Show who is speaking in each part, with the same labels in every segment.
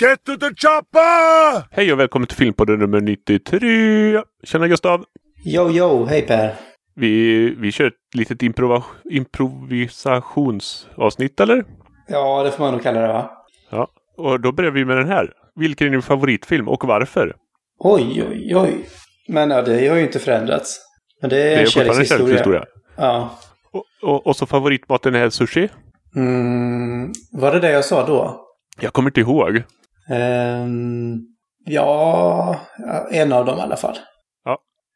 Speaker 1: Get to the chopper!
Speaker 2: Hej och välkommen till Filmpodden nummer 93! Tjena Gustav!
Speaker 3: Yo, yo, hej Per.
Speaker 2: Vi, vi kör ett litet improva, improvisationsavsnitt eller?
Speaker 3: Ja, det får man nog kalla det va?
Speaker 2: Ja. Och då börjar vi med den här. Vilken är din favoritfilm och varför?
Speaker 3: Oj, oj, oj. Men ja, det har ju inte förändrats. Men det
Speaker 2: Det
Speaker 3: är
Speaker 2: är
Speaker 3: en
Speaker 2: fortfarande en
Speaker 3: kärlekshistoria.
Speaker 2: kärlekshistoria.
Speaker 3: Ja.
Speaker 2: Och, och, och så favoritmaten är sushi?
Speaker 3: Mm, var det det jag sa då?
Speaker 2: Jag kommer inte ihåg.
Speaker 3: Ehm, ja, ja, en av dem i alla fall.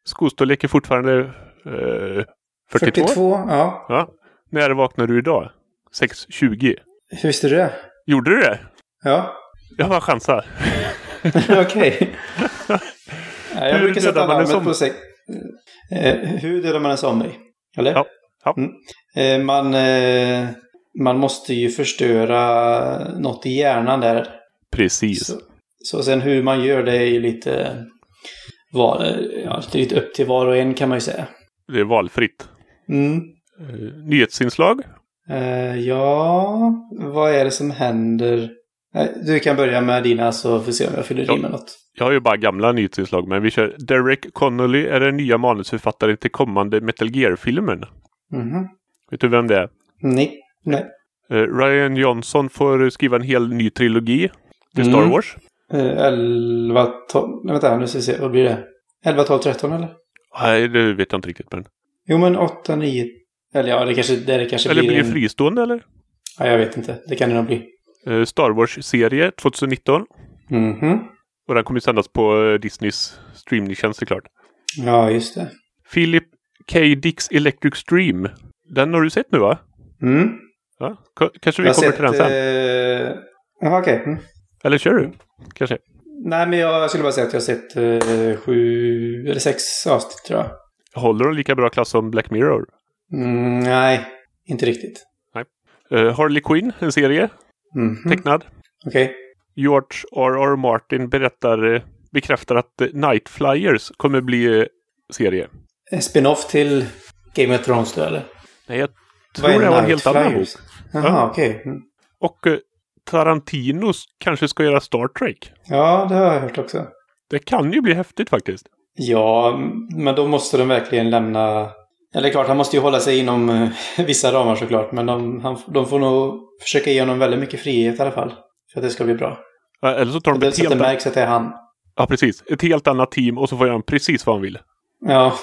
Speaker 2: Skostorlek är fortfarande eh, 42?
Speaker 3: 42? Ja.
Speaker 2: Ja. När vaknade du idag? 6.20?
Speaker 3: Hur visste du det?
Speaker 2: Gjorde du det?
Speaker 3: Ja,
Speaker 2: Jag bara chansar.
Speaker 3: okej. Ja, jag
Speaker 2: Hur
Speaker 3: brukar sätta
Speaker 2: dödar man en
Speaker 3: larmet
Speaker 2: zombie?
Speaker 3: på sig. Eh, hur dödar man en zombie? Eller?
Speaker 2: Ja. Ja.
Speaker 3: Mm. Eh, man, eh, man måste ju förstöra något i hjärnan där.
Speaker 2: Precis.
Speaker 3: Så, så sen hur man gör det är ju lite, var, eh, ja, det är lite upp till var och en kan man ju säga.
Speaker 2: Det är valfritt.
Speaker 3: Mm.
Speaker 2: Eh, nyhetsinslag?
Speaker 3: Eh, ja, vad är det som händer? Nej, Du kan börja med dina så får vi se om jag fyller
Speaker 2: Ja.
Speaker 3: i med något.
Speaker 2: Jag har ju bara gamla nyhetsinslag, men vi kör. Derek Connolly är den nya manusförfattaren till kommande Metal Gear-filmen.
Speaker 3: Mhm. Mm,
Speaker 2: Vet du vem det är?
Speaker 3: Nej. Nej.
Speaker 2: Eh, Ryan Johnson får skriva en hel ny trilogi till
Speaker 3: Mm.
Speaker 2: Star Wars.
Speaker 3: Eh, 11, 12, nej vänta nu ska vi se, vad blir det? 11, 12, 13 eller?
Speaker 2: Nej, det vet jag inte riktigt. Men...
Speaker 3: Jo men 8, 9, eller ja det kanske, det kanske
Speaker 2: Eller
Speaker 3: blir,
Speaker 2: blir det
Speaker 3: en-
Speaker 2: fristående eller?
Speaker 3: Ja, jag vet inte, det kan det nog bli.
Speaker 2: Eh, Star Wars-serie 2019.
Speaker 3: Mhm.
Speaker 2: Och den kommer ju sändas på eh, Disneys streamingtjänst såklart.
Speaker 3: Ja, just det.
Speaker 2: Philip K. Dicks Electric Stream. Den har du sett nu va?
Speaker 3: Mm.
Speaker 2: Ja. K- Kanske vi kommer till den sen.
Speaker 3: eh, Jaha, okej. Mm.
Speaker 2: Eller kör du? Kanske.
Speaker 3: Nej, men jag skulle bara säga att jag har sett eh, sju eller sex avsnitt tror jag.
Speaker 2: Håller de lika bra klass som Black Mirror?
Speaker 3: Mm, nej, inte riktigt.
Speaker 2: Eh, Harley Quinn, en serie
Speaker 3: Mhm.
Speaker 2: tecknad.
Speaker 3: Okej.
Speaker 2: George R.R. Martin berättar, eh, bekräftar att eh, Night Flyers kommer bli eh, serie.
Speaker 3: En spin-off till Game of Thrones då, eller?
Speaker 2: Nej, jag
Speaker 3: Vad är
Speaker 2: tror det var en
Speaker 3: Night
Speaker 2: helt annan bok.
Speaker 3: Flyers? Jaha,
Speaker 2: Ja.
Speaker 3: okej. Mm.
Speaker 2: Och eh, Tarantino s- kanske ska göra Star Trek.
Speaker 3: Ja, det har jag hört också.
Speaker 2: Det kan ju bli häftigt faktiskt.
Speaker 3: Ja, men då måste de verkligen lämna... Eller klart, han måste ju hålla sig inom eh, vissa ramar såklart, men de, han, de får nog försöka ge honom väldigt mycket frihet i alla fall. För att det ska bli bra.
Speaker 2: Eh, Eller så tar de ett
Speaker 3: Dels att det
Speaker 2: helt, an-
Speaker 3: märks att det är han.
Speaker 2: ja, precis. ett helt annat team och så får han precis vad han vill.
Speaker 3: Ja,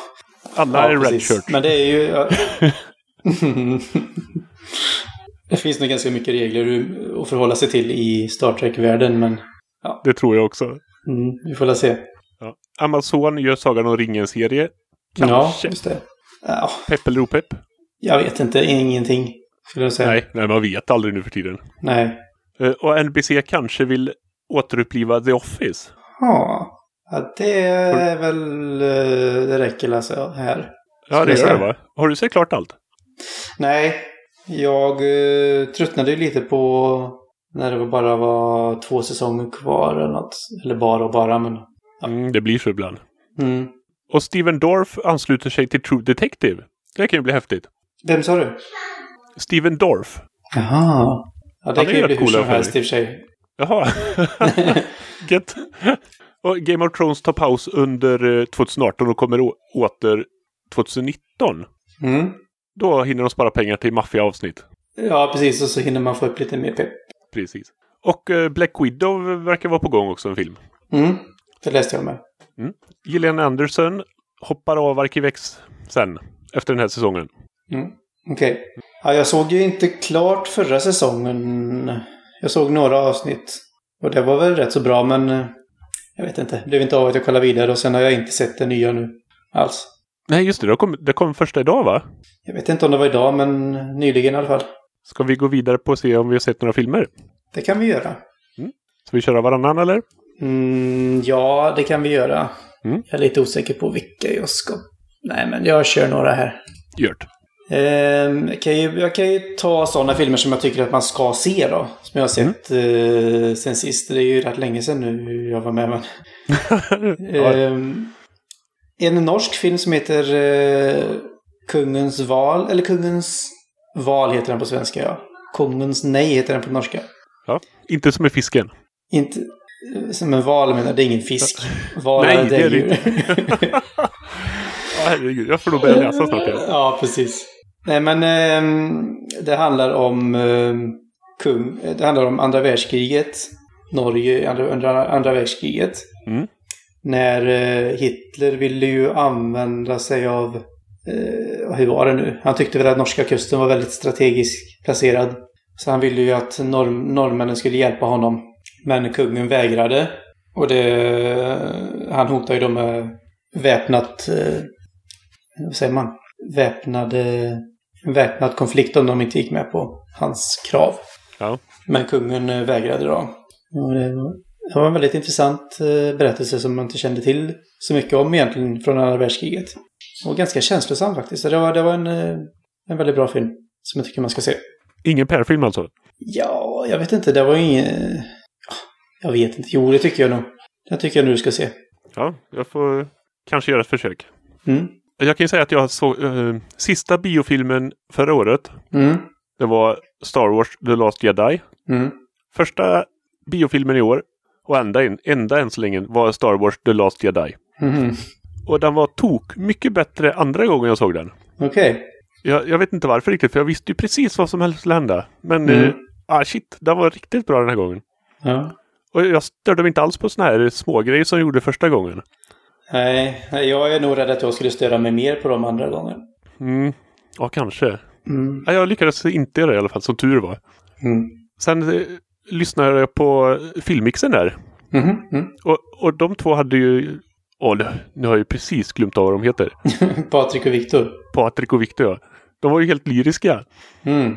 Speaker 2: Alla är red
Speaker 3: precis.
Speaker 2: shirt.
Speaker 3: Men det är ju... ja. det finns nog ganska mycket regler hur- att förhålla sig till i Star Trek-världen, men
Speaker 2: Det tror jag också.
Speaker 3: mm, vi får väl se.
Speaker 2: Ja. Amazon gör Sagan om ringen-serie.
Speaker 3: Ja,
Speaker 2: Kanske.
Speaker 3: just det. Ja,
Speaker 2: Pepp eller opepp?
Speaker 3: jag vet inte, ingenting. Skulle jag säga.
Speaker 2: Nej, nej, man vet aldrig nu för tiden.
Speaker 3: Nej.
Speaker 2: Eh, Och NBC kanske vill återuppliva The Office.
Speaker 3: Ja. Ja, det är väl... eh, Det räcker väl alltså här.
Speaker 2: Ja, det
Speaker 3: Skulle
Speaker 2: gör
Speaker 3: jag
Speaker 2: det va? Har du sett klart allt?
Speaker 3: Nej, jag eh, tröttnade ju lite på när det var bara var två säsonger kvar eller något. Eller bara och bara, men... Ja.
Speaker 2: Mm, det blir så ibland.
Speaker 3: Mm.
Speaker 2: Och Steven Dorff ansluter sig till True Detective. Det kan ju bli häftigt.
Speaker 3: Vem sa du?
Speaker 2: Steven Dorff.
Speaker 3: Jaha. Ja, det
Speaker 2: Han är
Speaker 3: kan ju
Speaker 2: rätt
Speaker 3: bli hur
Speaker 2: cool
Speaker 3: som
Speaker 2: i alla fall.
Speaker 3: helst i och för sig.
Speaker 2: Jaha. Gött. Och Game of Thrones tar paus under eh, 2018 och kommer å- åter 2019.
Speaker 3: Mm.
Speaker 2: Då hinner de spara pengar till maffiaavsnitt.
Speaker 3: Ja, precis. Och så hinner man få upp lite mer pepp.
Speaker 2: Precis. Och eh, Black Widow verkar vara på gång också, en film.
Speaker 3: Mm. Det läste jag med.
Speaker 2: Gillian Anderson hoppar av Arkivex sen, efter den här säsongen.
Speaker 3: Mm. Okej. Ja, jag såg ju inte klart förra säsongen. Jag såg några avsnitt. Och det var väl rätt så bra, men... eh, Jag vet inte. Det blev inte av att jag kollade vidare och sen har jag inte sett det nya nu. Alls.
Speaker 2: Nej, just det. Det kom, det kom första idag, va?
Speaker 3: Jag vet inte om det var idag, men nyligen i alla fall.
Speaker 2: Ska vi gå vidare på och se om vi har sett några filmer?
Speaker 3: Det kan vi göra.
Speaker 2: Ska vi köra varannan eller?
Speaker 3: Mm, ja, det kan vi göra.
Speaker 2: Mm.
Speaker 3: Jag är lite osäker på vilka jag ska... Nej, men jag kör några här.
Speaker 2: Gjort.
Speaker 3: Ehm, jag kan ju, jag kan ju ta sådana filmer som jag tycker att man ska se då. Som jag har
Speaker 2: Mm.
Speaker 3: sett eh, sen sist. Det är ju rätt länge sedan nu jag var med. Men,
Speaker 2: ja,
Speaker 3: Ehm, en norsk film som heter eh, Kungens val. Eller Kungens val heter den på svenska ja. Kungens nej heter den på norska.
Speaker 2: ja. Inte som i fisken.
Speaker 3: Inte som en val menar jag, det är ingen fisk. Val
Speaker 2: Nej,
Speaker 3: är
Speaker 2: det är det
Speaker 3: däggdjur.
Speaker 2: Ja, herregud, jag får nog börja läsa snart. igen.
Speaker 3: Ja, precis. Nej, men ehm, det handlar om ehm, kung. eh, Det handlar om andra världskriget. Norge i andra, andra, andra världskriget.
Speaker 2: Mm.
Speaker 3: När eh, Hitler ville ju använda sig av... Eh, hur var det nu? Han tyckte väl att norska kusten var väldigt strategiskt placerad. Så han ville ju att norr, norrmännen skulle hjälpa honom. Men kungen vägrade. Och det, han hotade ju dem med väpnat... Eh, vad säger man? Väpnad, eh, väpnad konflikt om de inte gick med på hans krav.
Speaker 2: Ja.
Speaker 3: Men kungen eh, vägrade då. Och det, var, det var en väldigt intressant eh, berättelse som man inte kände till så mycket om egentligen från andra världskriget. Och ganska känslosam faktiskt. Så Det var, det var en, eh, en väldigt bra film som jag tycker man ska se.
Speaker 2: Ingen Per-film alltså?
Speaker 3: Ja, jag vet inte. Det var ju ingen... Ah, Jag vet inte. Jo, det tycker jag nog. Det tycker jag nu du ska se.
Speaker 2: Ja, jag får kanske göra ett försök.
Speaker 3: Mm.
Speaker 2: Jag kan ju säga att jag såg eh, sista biofilmen förra året.
Speaker 3: Mm.
Speaker 2: Det var Star Wars The Last Jedi.
Speaker 3: Mm.
Speaker 2: Första biofilmen i år och enda, in, enda än så länge var Star Wars The Last Jedi.
Speaker 3: Mhm.
Speaker 2: Och den var tok mycket bättre andra gången jag såg den.
Speaker 3: Okej.
Speaker 2: Jag, jag vet inte varför riktigt, för jag visste ju precis vad som helst skulle hända. Men
Speaker 3: Mm.
Speaker 2: eh, ah, shit, den var riktigt bra den här gången.
Speaker 3: Ja.
Speaker 2: Och jag störde mig inte alls på såna här smågrejer som jag gjorde första gången.
Speaker 3: Nej, nej, jag är nog rädd att jag skulle störa mig mer på de andra gången.
Speaker 2: Mm. Ja, kanske.
Speaker 3: Mm.
Speaker 2: Ja, jag lyckades inte göra det i alla fall, som tur var.
Speaker 3: Mm.
Speaker 2: Sen eh, lyssnade jag på eh, filmmixen där.
Speaker 3: Mhm. Mm.
Speaker 2: Och, och de två hade ju... Åh, nu- nu har jag ju precis glömt av vad de heter.
Speaker 3: Patrik och Viktor.
Speaker 2: Patrik och Viktor, ja. De var ju helt lyriska.
Speaker 3: Mm.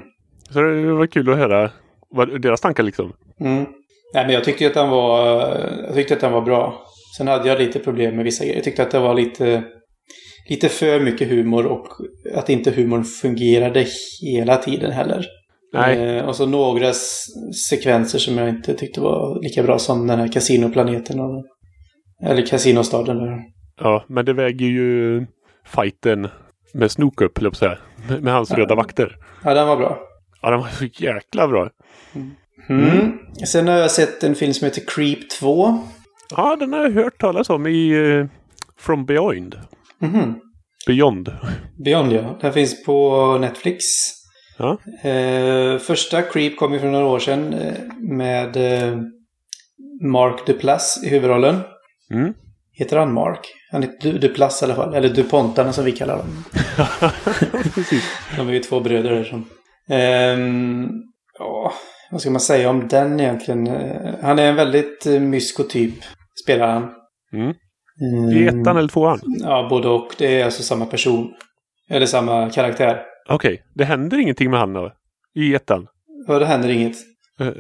Speaker 2: Så det var kul att höra vad, deras tankar liksom.
Speaker 3: Mm. Nej, men jag tyckte ju att den var, jag tyckte att den var bra. Sen hade jag lite problem med vissa grejer. Jag tyckte att det var lite, lite för mycket humor och att inte humorn fungerade hela tiden heller.
Speaker 2: Nej.
Speaker 3: Eh, och så några s- sekvenser som jag inte tyckte var lika bra som den här kasinoplaneten. Och, eller kasinostaden. Där.
Speaker 2: Ja, men det väger ju fighten med Snook upp, höll jag på att säga. Med, med hans röda vakter.
Speaker 3: Ja, den var bra.
Speaker 2: Ja, den var så jäkla bra.
Speaker 3: Mm. Sen har jag sett en film som heter Creep 2.
Speaker 2: Ja, den har jag hört talas om i eh, From Beyond.
Speaker 3: Mhm.
Speaker 2: Beyond.
Speaker 3: Beyond ja. Den finns på Netflix.
Speaker 2: Ja.
Speaker 3: Eh, första Creep kom ju för några år sedan eh, med eh, Mark Duplass i huvudrollen.
Speaker 2: Mm.
Speaker 3: Heter han Mark? Han heter Du- Duplass i alla fall. Eller Dupontarna som vi kallar dem.
Speaker 2: Precis.
Speaker 3: De är ju två bröder där som... Ehm, ja, vad ska man säga om den egentligen? Eh, han är en väldigt eh, myskotyp, spelar han.
Speaker 2: Mm.
Speaker 3: Mm,
Speaker 2: I ettan eller tvåan?
Speaker 3: Ja, både och. Det är alltså samma person. Eller samma karaktär.
Speaker 2: Okej, det händer ingenting med han då? I ettan?
Speaker 3: Och det händer inget.
Speaker 2: Eh,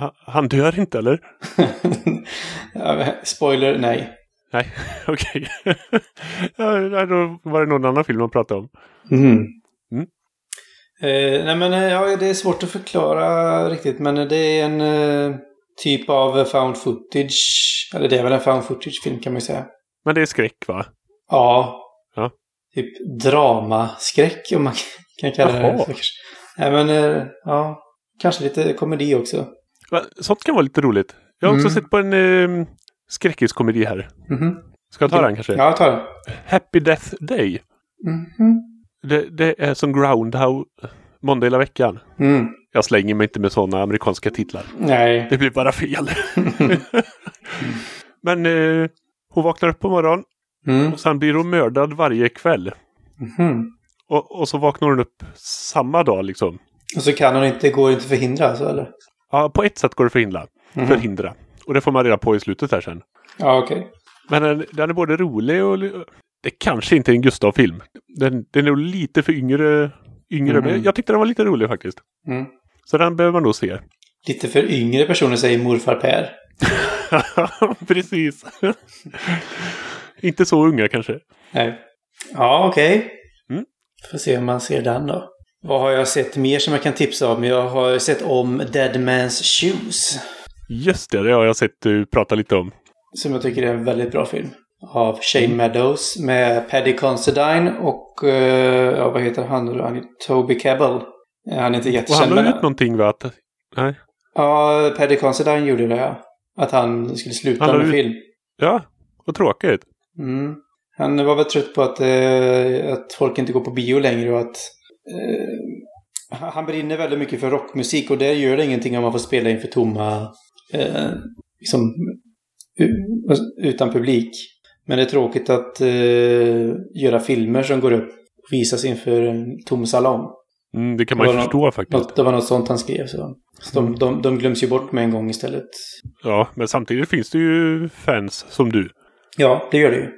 Speaker 2: ha- han dör inte eller?
Speaker 3: Ja, men Spoiler, nej.
Speaker 2: Nej, okej. ja, nej, då var det någon annan film man pratade om. Mm.
Speaker 3: Eh, nej men eh, ja, det är svårt att förklara riktigt men eh, det är en eh, typ av eh, found footage. Eller det är väl en found footage-film kan man ju säga.
Speaker 2: Men det är skräck va?
Speaker 3: Ja.
Speaker 2: Ja.
Speaker 3: Typ dramaskräck om man kan kalla det.
Speaker 2: Jaha.
Speaker 3: för. Nej men eh, ja, kanske lite komedi också.
Speaker 2: Va, Sånt kan vara lite roligt. Jag har också
Speaker 3: Mm.
Speaker 2: sett på en eh, skräckiskomedi här.
Speaker 3: Mhm.
Speaker 2: Ska jag ta den kanske?
Speaker 3: Ja, jag tar den.
Speaker 2: Happy Death Day.
Speaker 3: Mhm.
Speaker 2: Det, det är som Groundhog måndag hela veckan.
Speaker 3: Mm.
Speaker 2: Jag slänger mig inte med sådana amerikanska titlar.
Speaker 3: Nej.
Speaker 2: Det blir bara fel. Men eh, hon vaknar upp på morgonen
Speaker 3: Mm.
Speaker 2: och sen blir hon mördad varje kväll.
Speaker 3: Mhm.
Speaker 2: Och, och så vaknar hon upp samma dag liksom.
Speaker 3: Och så kan hon inte, går inte att förhindra alltså eller?
Speaker 2: Ja, på ett sätt går det att förhindra.
Speaker 3: Mhm.
Speaker 2: förhindra. Och det får man reda på i slutet här sen.
Speaker 3: Ja, okej.
Speaker 2: Men den, den är både rolig och... Det kanske inte är en Gustav-film. Den, den är nog lite för yngre. yngre
Speaker 3: Mhm.
Speaker 2: men jag tyckte den var lite rolig faktiskt.
Speaker 3: Mm.
Speaker 2: Så den behöver man nog se.
Speaker 3: Lite för yngre personer säger morfar Per.
Speaker 2: Precis. inte så unga kanske.
Speaker 3: Nej. Ja, okej.
Speaker 2: Mm.
Speaker 3: Får se om man ser den då. Vad har jag sett mer som jag kan tipsa om? Jag har sett om Dead Man's Shoes.
Speaker 2: Just det, det har jag sett du prata lite om.
Speaker 3: Som jag tycker är en väldigt bra film. Av Shane Meadows med Paddy Considine och... eh, ja, vad heter han nu då? Han är Toby Cabell. Eh, Han är inte
Speaker 2: Och han
Speaker 3: jättekänd
Speaker 2: la ut
Speaker 3: men...
Speaker 2: någonting va? Att, nej.
Speaker 3: Ja, Paddy Considine gjorde det ja. Att han skulle sluta
Speaker 2: Han la
Speaker 3: med
Speaker 2: ut-
Speaker 3: film.
Speaker 2: Ja, vad tråkigt.
Speaker 3: Mm. Han var väl trött på att, eh, att folk inte går på bio längre och att eh, han han brinner väldigt mycket för rockmusik och där gör det ingenting om man får spela inför tomma, eh, liksom, u- utan publik. Men det är tråkigt att eh, göra filmer som går upp och visas inför en tom salong.
Speaker 2: Mm, det kan man ju
Speaker 3: Vadå?
Speaker 2: förstå faktiskt.
Speaker 3: Något, det var något sånt han skrev. Så. Så
Speaker 2: Mm.
Speaker 3: de, de, de glöms ju bort med en gång istället.
Speaker 2: Ja, men samtidigt finns det ju fans som du.
Speaker 3: Ja, det gör det ju.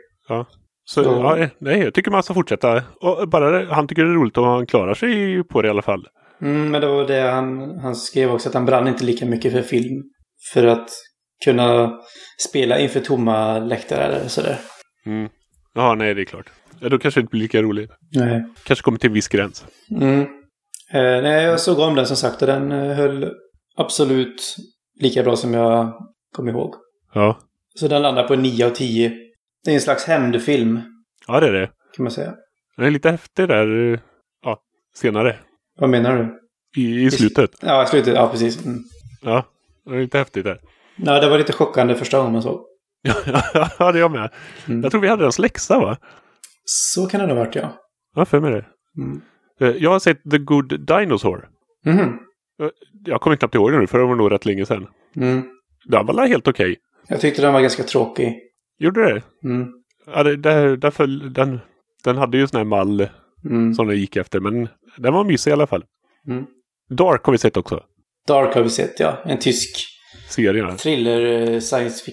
Speaker 2: Så
Speaker 3: Ja.
Speaker 2: ja, nej, jag tycker man ska fortsätta. Och bara det- han tycker det är roligt om han klarar sig på det i alla fall.
Speaker 3: Mm, men det var det han, han skrev också, att han brann inte lika mycket för film. För att kunna spela inför tomma läktare eller sådär.
Speaker 2: Mm. Ja, nej, det är klart. Ja, då kanske det inte blir lika roligt.
Speaker 3: Nej.
Speaker 2: Kanske kommer till en viss gräns.
Speaker 3: Mm. Eh, nej, jag såg om den som sagt och den eh, höll absolut lika bra som jag kom ihåg.
Speaker 2: Ja,
Speaker 3: Så den landar på 9 av 10. Det är en slags hämndfilm,
Speaker 2: ja det är det.
Speaker 3: kan man säga.
Speaker 2: Den är lite häftig där. eh, Ja, senare.
Speaker 3: Vad menar du?
Speaker 2: I, i slutet.
Speaker 3: Ja, i slutet. Ja, precis. Mm.
Speaker 2: Ja, det är lite häftigt där.
Speaker 3: Ja, det var lite chockande första gången man såg.
Speaker 2: ja, det är jag med.
Speaker 3: Mm.
Speaker 2: Jag tror vi hade ens läxa, va?
Speaker 3: Så kan det ha varit, ja.
Speaker 2: Ja, för mig det.
Speaker 3: Mm.
Speaker 2: Eh, Jag har sett The Good Dinosaur.
Speaker 3: Mhm.
Speaker 2: Jag kommer knappt ihåg det nu, för det var nog rätt länge sedan.
Speaker 3: Mm.
Speaker 2: Den var väl helt okej.
Speaker 3: Jag tyckte den var ganska tråkig.
Speaker 2: Gjorde det?
Speaker 3: Mm.
Speaker 2: Ja, det, där, där föll, den, den hade ju sån här mall
Speaker 3: Mm.
Speaker 2: som den gick efter, men den var mysig i alla fall.
Speaker 3: Mm.
Speaker 2: Dark har vi sett också.
Speaker 3: Dark har vi sett, ja. En tysk
Speaker 2: Serien.
Speaker 3: thriller eh, science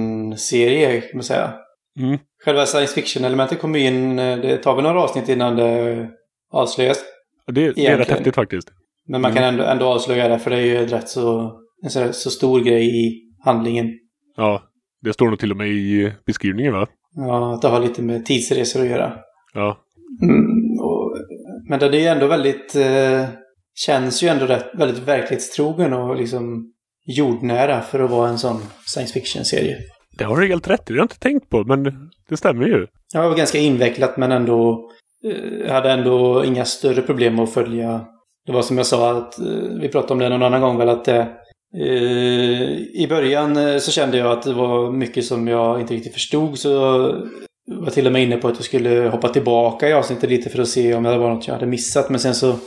Speaker 3: fiction-serie, kan man säga.
Speaker 2: Mm.
Speaker 3: Själva science fiction-elementet kommer in, eh, det tar väl några avsnitt innan det eh, avslöjas.
Speaker 2: Och Det, det är
Speaker 3: Egentligen.
Speaker 2: rätt häftigt faktiskt.
Speaker 3: Men man kan ändå, ändå avslöja det, för det är ju rätt så, en så, så stor grej i handlingen.
Speaker 2: Ja, det står nog till och med i eh, beskrivningen va?
Speaker 3: Ja, att det har lite med tidsresor att göra.
Speaker 2: Ja,
Speaker 3: Mm, och, men den är ju ändå väldigt, eh, känns ju ändå rätt, väldigt verklighetstrogen och liksom jordnära för att vara en sån science fiction-serie.
Speaker 2: det har du helt rätt i. Det har jag inte tänkt på, men det stämmer ju.
Speaker 3: Ja, Det var ganska invecklat men ändå eh, hade ändå inga större problem att följa. Det var som jag sa att eh, vi pratade om det någon annan gång väl att det, eh, i början eh, så kände jag att det var mycket som jag inte riktigt förstod så var jag till och med inne på att jag skulle hoppa tillbaka i avsnittet lite för att se om det var något jag hade missat men sen så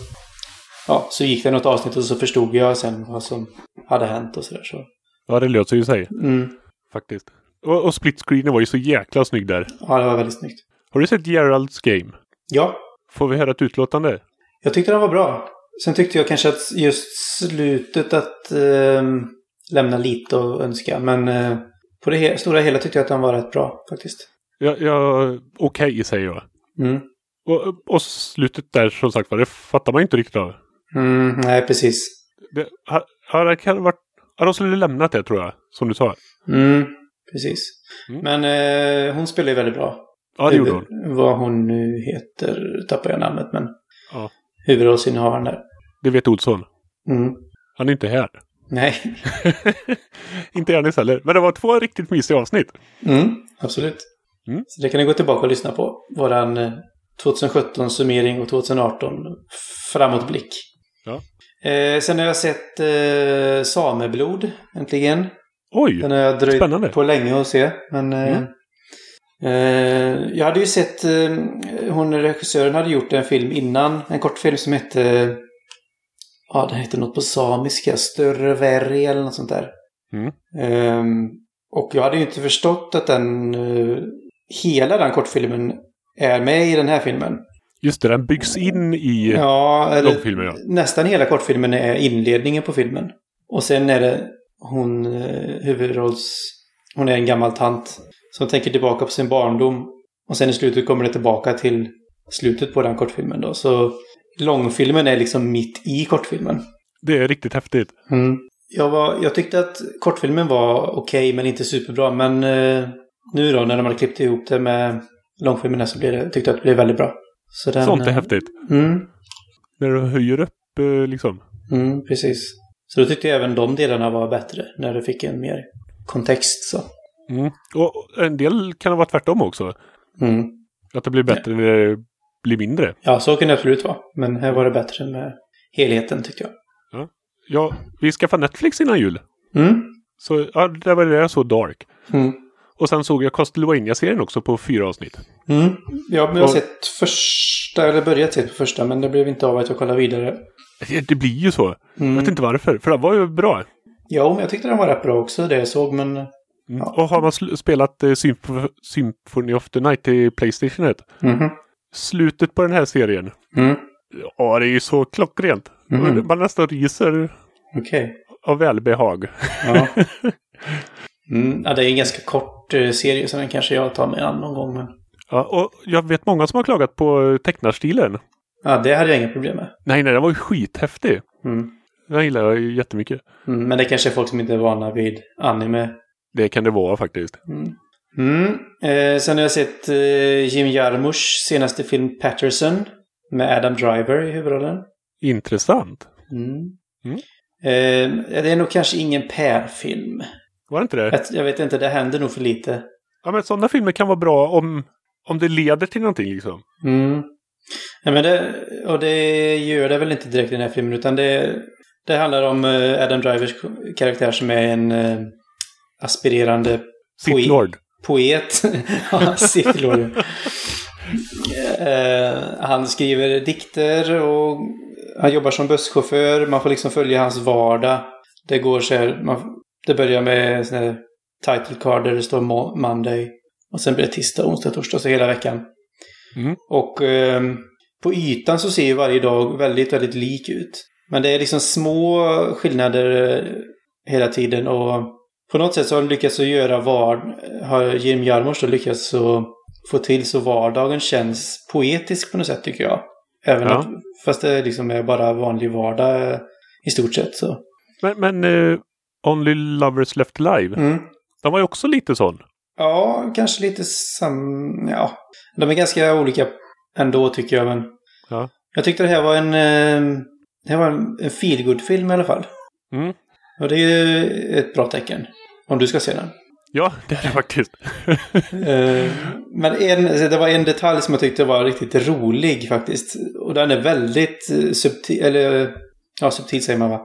Speaker 3: ja, så gick det något avsnitt och så förstod jag sen vad som hade hänt och sådär så.
Speaker 2: Ja, det löser ju sig
Speaker 3: Mm.
Speaker 2: faktiskt. Och, och split screenen var ju så jäkla snygg där.
Speaker 3: Ja, det var väldigt snyggt.
Speaker 2: Har du sett Geralds Game?
Speaker 3: Ja,
Speaker 2: Får vi höra ett utlåtande?
Speaker 3: Jag tyckte den var bra. Sen tyckte jag kanske att just slutet att ehm, lämna lite att önska. Men eh, på det he- stora hela tyckte jag att den var rätt bra faktiskt.
Speaker 2: Ja, ja okej säger jag.
Speaker 3: Mm.
Speaker 2: Och, och slutet där som sagt var, det fattar man ju inte riktigt av.
Speaker 3: Mm, nej, precis.
Speaker 2: Det, har, har, det kan ha varit, har de skulle lämnat det tror jag, som du sa.
Speaker 3: Mm, precis.
Speaker 2: Mm.
Speaker 3: Men eh, hon spelar ju väldigt bra.
Speaker 2: Ja, det gjorde hon.
Speaker 3: Huvud- Vad hon nu heter tappar jag namnet, men
Speaker 2: Ja.
Speaker 3: huvudrollsinnehavaren där.
Speaker 2: Det vet Olsson.
Speaker 3: Mm.
Speaker 2: Han är inte här.
Speaker 3: Nej.
Speaker 2: inte Ernis heller. Men det var två riktigt mysiga avsnitt.
Speaker 3: Mm, absolut.
Speaker 2: Mm.
Speaker 3: Så det kan ni gå tillbaka och lyssna på. Våran eh, 2017-summering och 2018 framåtblick.
Speaker 2: Ja.
Speaker 3: Eh, sen har jag sett eh, Sameblod, äntligen.
Speaker 2: Oj!
Speaker 3: Den har jag dröjt
Speaker 2: Spännande.
Speaker 3: på länge att se. Men, eh,
Speaker 2: Mm.
Speaker 3: eh, jag hade ju sett, eh, hon regissören hade gjort en film innan, en kortfilm som hette, ja den hette något på samiska, Större Verri eller något sånt där.
Speaker 2: Mm.
Speaker 3: Eh, och jag hade ju inte förstått att den, eh, hela den kortfilmen är med i den här filmen.
Speaker 2: Just det, den byggs in i...
Speaker 3: Ja, eller
Speaker 2: Långfilmer, ja.
Speaker 3: nästan hela kortfilmen är inledningen på filmen. Och sen är det hon, eh, huvudrolls... Hon är en gammal tant som tänker tillbaka på sin barndom. Och sen i slutet kommer det tillbaka till slutet på den kortfilmen då. Så långfilmen är liksom mitt i kortfilmen.
Speaker 2: Det är riktigt häftigt.
Speaker 3: Jag, var, jag tyckte att kortfilmen var okej men inte superbra. Men eh, nu då när de hade klippt ihop det med långfilmen här så blev det, tyckte jag att det blev väldigt bra. Så den,
Speaker 2: Sånt är
Speaker 3: eh,
Speaker 2: häftigt.
Speaker 3: Mm,
Speaker 2: När du höjer upp eh, liksom.
Speaker 3: Mm, precis. Så då tyckte jag även de delarna var bättre, när du fick en mer kontext så.
Speaker 2: Mm. Och en del kan det vara tvärtom också.
Speaker 3: Mm.
Speaker 2: Att det blir bättre när det blir mindre.
Speaker 3: Ja, så kunde det absolut vara. Men här var det bättre med helheten tyckte jag.
Speaker 2: Ja, vi skaffade Netflix innan jul.
Speaker 3: Mm.
Speaker 2: Så ja, det var det jag såg Dark.
Speaker 3: Mm.
Speaker 2: Och sen såg jag Castlevania-serien också på fyra avsnitt.
Speaker 3: Mm. Ja, men jag
Speaker 2: Och-
Speaker 3: har sett första, eller börjat se på första, men det blev inte av att jag kollade vidare.
Speaker 2: Det, det blir ju så. Jag
Speaker 3: Mm.
Speaker 2: vet inte varför, för det var ju bra.
Speaker 3: Ja, men jag tyckte den var rätt bra också, det jag såg, men... Ja.
Speaker 2: Och har man sl- spelat eh, Symf- Symphony of the Night till Playstation 1.
Speaker 3: Mhm.
Speaker 2: Slutet på den här serien.
Speaker 3: Mm.
Speaker 2: Ja, det är ju så klockrent.
Speaker 3: Mhm.
Speaker 2: Man nästan ryser
Speaker 3: Okej.
Speaker 2: av välbehag.
Speaker 3: Ja. Mm. ja, det är en ganska kort eh, serie, så den kanske jag tar mig an någon gång. Men...
Speaker 2: Ja, och jag vet många som har klagat på eh, tecknarstilen.
Speaker 3: Ja, det hade jag inga problem med.
Speaker 2: Nej, nej, den var ju skithäftig.
Speaker 3: Mm.
Speaker 2: Den gillar jag ju jättemycket.
Speaker 3: Mm. Men det kanske är folk som inte är vana vid anime.
Speaker 2: Det kan det vara faktiskt.
Speaker 3: Mm. Mm. Eh, sen har jag sett eh, Jim Jarmusch senaste film Patterson med Adam Driver i huvudrollen.
Speaker 2: Intressant.
Speaker 3: Mm.
Speaker 2: Mm.
Speaker 3: Eh, det är nog kanske ingen Per-film.
Speaker 2: Var det inte det?
Speaker 3: Jag, jag vet inte, det händer nog för lite.
Speaker 2: Ja, men sådana filmer kan vara bra om, om det leder till någonting liksom.
Speaker 3: Mm. Nej, men det, och det gör det väl inte direkt i den här filmen, utan det, det handlar om eh, Adam Drivers karaktär som är en eh, aspirerande Oj.
Speaker 2: Sith Lord.
Speaker 3: poet. Ja, Sith Lord. Eh, han skriver dikter och han jobbar som busschaufför. Man får liksom följa hans vardag. Det går så här, man, det börjar med sån här title card där det står Mo- Monday. Och sen blir det tisdag, onsdag, torsdag, så hela veckan.
Speaker 2: Mm.
Speaker 3: Och ehm, på ytan så ser ju varje dag väldigt, väldigt lik ut. Men det är liksom små skillnader eh, hela tiden och på något sätt så har de lyckats att göra var... Har Jim Jarmusch då lyckats att få till så vardagen känns poetisk på något sätt tycker jag. Även
Speaker 2: Ja.
Speaker 3: att, fast det liksom är bara vanlig vardag eh, i stort sett så.
Speaker 2: Men, men eh, Only Lovers Left Alive.
Speaker 3: Mm.
Speaker 2: Den var ju också lite sån.
Speaker 3: Ja, kanske lite sam... Ja. De är ganska olika ändå tycker jag, men...
Speaker 2: Ja.
Speaker 3: Jag tyckte det här var en... eh, Det här var en, en feelgood-film i alla fall.
Speaker 2: Mm.
Speaker 3: Och det är ju ett bra tecken. Om du ska se den.
Speaker 2: Ja, det är det faktiskt.
Speaker 3: Eh, Men en, alltså, det var en detalj som jag tyckte var riktigt rolig faktiskt. Och den är väldigt eh, subtil, eller... eh, Ja, subtil säger man va?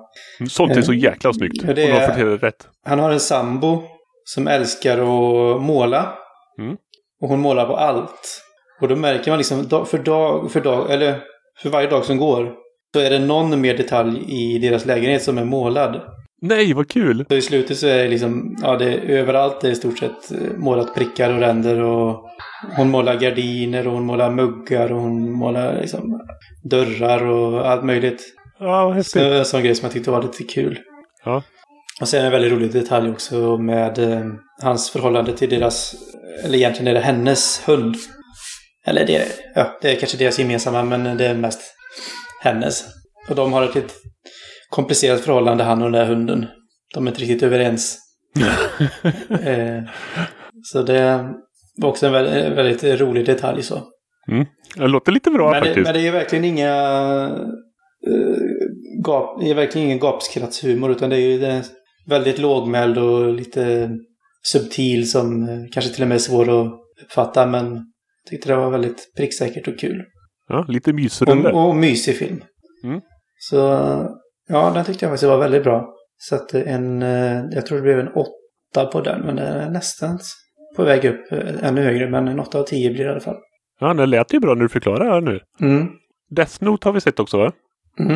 Speaker 2: Sånt är så jäkla snyggt.
Speaker 3: Mm. Ja, det
Speaker 2: Om de
Speaker 3: är-
Speaker 2: får till det rätt.
Speaker 3: Han har en sambo som älskar att måla.
Speaker 2: Mm.
Speaker 3: Och hon målar på allt. Och då märker man liksom dag för dag, för dag, eller för varje dag som går. Så är det någon mer detalj i deras lägenhet som är målad.
Speaker 2: Nej, vad kul!
Speaker 3: Så i slutet så är det liksom, ja det är överallt det är i stort sett eh, målat prickar och ränder och hon målar gardiner och hon målar muggar och hon målar liksom dörrar och allt möjligt.
Speaker 2: Ja, vad häftigt.
Speaker 3: Så det var en sån grej som jag tyckte var lite kul.
Speaker 2: Ja.
Speaker 3: Och sen en väldigt rolig detalj också med eh, hans förhållande till deras, eller egentligen är det hennes hund. Eller det, ja, det är kanske deras gemensamma, men det är mest hennes. Och de har ett lite komplicerat förhållande, han och den där hunden. De är inte riktigt överens. eh, så det var också en väldigt, en väldigt rolig detalj så.
Speaker 2: Mm. Det låter lite bra
Speaker 3: men, det,
Speaker 2: faktiskt.
Speaker 3: men det är verkligen inga... eh, gap, det är verkligen ingen gapskrattshumor utan det är ju det är väldigt lågmäld och lite subtil som eh, kanske till och med är svår att uppfatta men jag tyckte det var väldigt pricksäkert och kul.
Speaker 2: Ja, lite mysrulle.
Speaker 3: Och, och mysig film.
Speaker 2: Mm.
Speaker 3: Så ja, den tyckte jag faktiskt var väldigt bra. Så att en, eh, jag tror det blev en åtta på den men den är nästan på väg upp eh, ännu högre men en åtta av tio blir det i alla fall.
Speaker 2: Ja, det lät ju bra när du förklarade här nu.
Speaker 3: Mm.
Speaker 2: Death Note har vi sett också va?
Speaker 3: Mm.